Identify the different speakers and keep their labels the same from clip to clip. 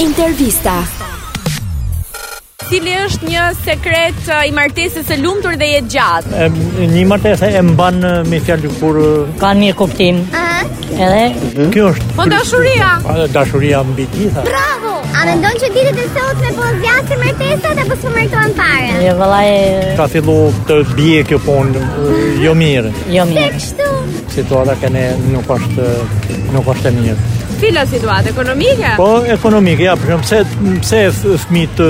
Speaker 1: Intervista.
Speaker 2: Cili është një sekret ë, i martesës së lumtur dhe jetë gjatë?
Speaker 3: E, një martesë e mban e, me fjalë kur e, Mhm.
Speaker 4: Ka një kuptim. Edhe
Speaker 3: kjo është.
Speaker 2: Po dashuria.
Speaker 3: A, dashuria mbi gjitha.
Speaker 5: Bravo! A mendon që ditët e sotme po zgjasin martesat apo s'po martohen fare?
Speaker 4: jo vëllai
Speaker 3: Ka fillu të bie kjo punë e, jo mirë.
Speaker 4: jo mirë.
Speaker 5: Kështu.
Speaker 3: Situata që ne nuk është nuk është e mirë.
Speaker 2: Cila situatë ekonomike?
Speaker 3: Po ekonomike, ja, për shemb, pse pse f- fëmijët e,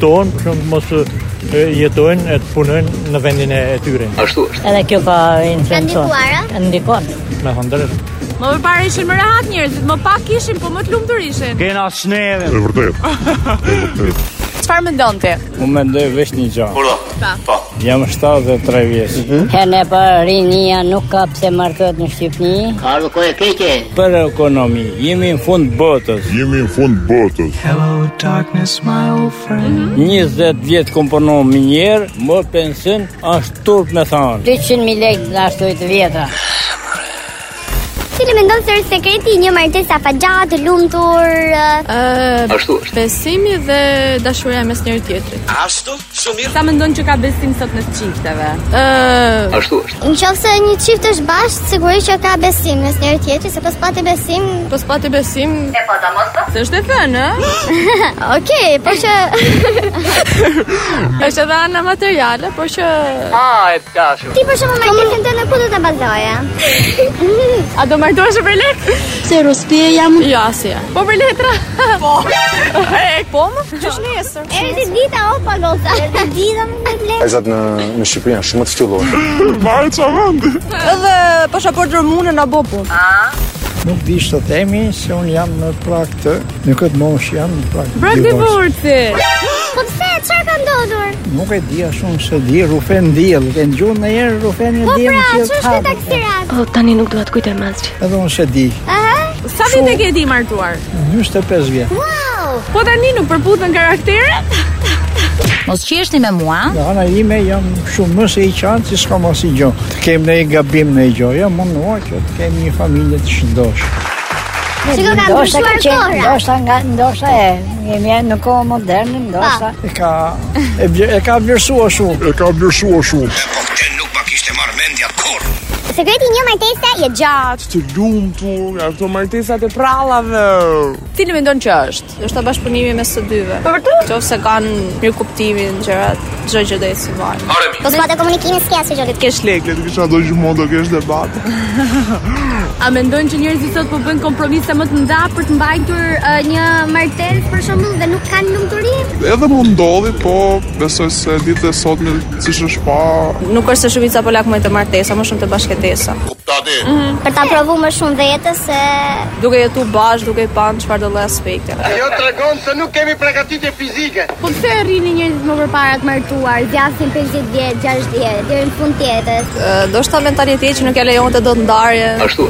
Speaker 3: tonë, për shemb, mos e, jetojnë e të punojnë në vendin e e tyre.
Speaker 4: Edhe kjo ka influencon.
Speaker 5: Ka ndikuar, a?
Speaker 4: Ndikon.
Speaker 3: Me thënë drejtë.
Speaker 2: Më përpara ishin më rehat njerëzit, më pak ishin, po më të lumtur ishin.
Speaker 6: Kena sneve
Speaker 7: E vërtet.
Speaker 2: Çfarë mendon ti?
Speaker 8: Unë mendoj vesh një gjë. Jam 73 vjeç.
Speaker 4: Hene për rinia nuk ka pse martohet në Shqipëni.
Speaker 8: Për ekonomi, jemi në fund botës.
Speaker 7: Jemi në fund botës.
Speaker 4: Mhm.
Speaker 8: 20 vjet kom punon më njerë, më pension është turp me thonë.
Speaker 4: 200.000 lekë na shtoj të vjetra.
Speaker 5: Cili mendon se është sekreti i një martese afatgjat, lumtur? ë,
Speaker 9: Besimi dhe dashuria mes njëri tjetrit.
Speaker 2: Sa mendon që ka besim sot në çifteve?
Speaker 9: Ë,
Speaker 5: Nëse një çift është bashkë, sigurisht që ka besim mes njëri tjetrit, sepse pati besim,
Speaker 9: po s'pati besim,
Speaker 2: Se është e po, thënë, ë?
Speaker 5: okay, po që
Speaker 9: është edhe ana materiale, por që
Speaker 5: ti për shkakun martesën tënde ku do ta bazoje?
Speaker 2: A do martohesh për lek?
Speaker 9: jo asja.
Speaker 2: Po për letra. Po. E, po më? Qysh nesër?
Speaker 5: Erdhi dita o pagosa. Erdhi dita me problem.
Speaker 10: Vajzat në në Shqipëri janë shumë të ftyllur.
Speaker 9: Edhe pasaportë rumune na bë punë.
Speaker 8: Nuk di të themi se unë jam në prak të, në këtë mosh jam në prak të
Speaker 2: Brak divorci.
Speaker 5: Po pse çfarë ka ndodhur?
Speaker 8: Nuk e di shumë se di rufen diell, e ngjuar në herë rufen e
Speaker 5: Po
Speaker 8: diell
Speaker 5: pra,
Speaker 8: që
Speaker 5: ç'është këtë taksirat?
Speaker 9: Po tani nuk duhet kujtë mazgjë.
Speaker 8: Edhe unë se di,
Speaker 5: Aha.
Speaker 2: Sa vite ke ti martuar?
Speaker 8: 45 vjet.
Speaker 5: Wow!
Speaker 2: Po tani nuk përputhen karakteret?
Speaker 4: Mos qeshni me mua.
Speaker 8: Nga ana ime jam shumë më se i qanë që s'ka mas i gjo. Të kem në i gabim në i gjo, jam mundua që të kem një familje të shëndosh.
Speaker 5: Shiko, ka ndryshuar kohra.
Speaker 4: ndoshta nga ndoshta e jemi e- në kohë moderne, ndoshta.
Speaker 8: E ka, e, vje- e ka vlerësua shumë.
Speaker 7: E ka vlerësuar shumë.
Speaker 5: Sekreti i një martese je gjatë.
Speaker 6: Të lumtur, ato martesat e prallave.
Speaker 9: Cili mendon që është? Është bashkëpunimi mes së dyve. Po vërtet? Qofse kanë mirë kuptimin gjërat, çdo gjë do të si varet.
Speaker 5: Po s'ka të komunikimin s'ke asë gjë.
Speaker 6: Kesh lekle, të kisha do gjumon, do kesh debat.
Speaker 2: A mendojnë që njerëzit sot po bëjnë kompromise më të mëdha për të mbajtur ë, një martesë?
Speaker 5: Për shembull, dhe nuk kanë lumturi.
Speaker 7: Edhe më ndodhi, po besoj se ditë e sotme siç është pa
Speaker 9: Nuk është se shumica polak më të martesa, më shumë të bashkëtesa.
Speaker 5: Për ta provu më shumë vetë se
Speaker 9: Duke jetu bashkë, duke i panë çfarë do lloj aspekte.
Speaker 5: po pse rrini njerëzit më përpara të martuar, zgjasin 50 vjet, 60 vjet deri në fund të jetës.
Speaker 9: Ë, Do shta mentalitet që nuk e lejon të do të ndarje. Ashtu.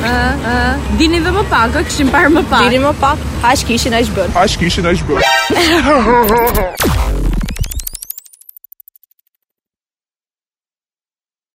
Speaker 2: Dini dhe më pak, ë, kishim parë më pak.
Speaker 9: Dini më pak, haq kishin aq bën.
Speaker 7: aq kishin aq bërë.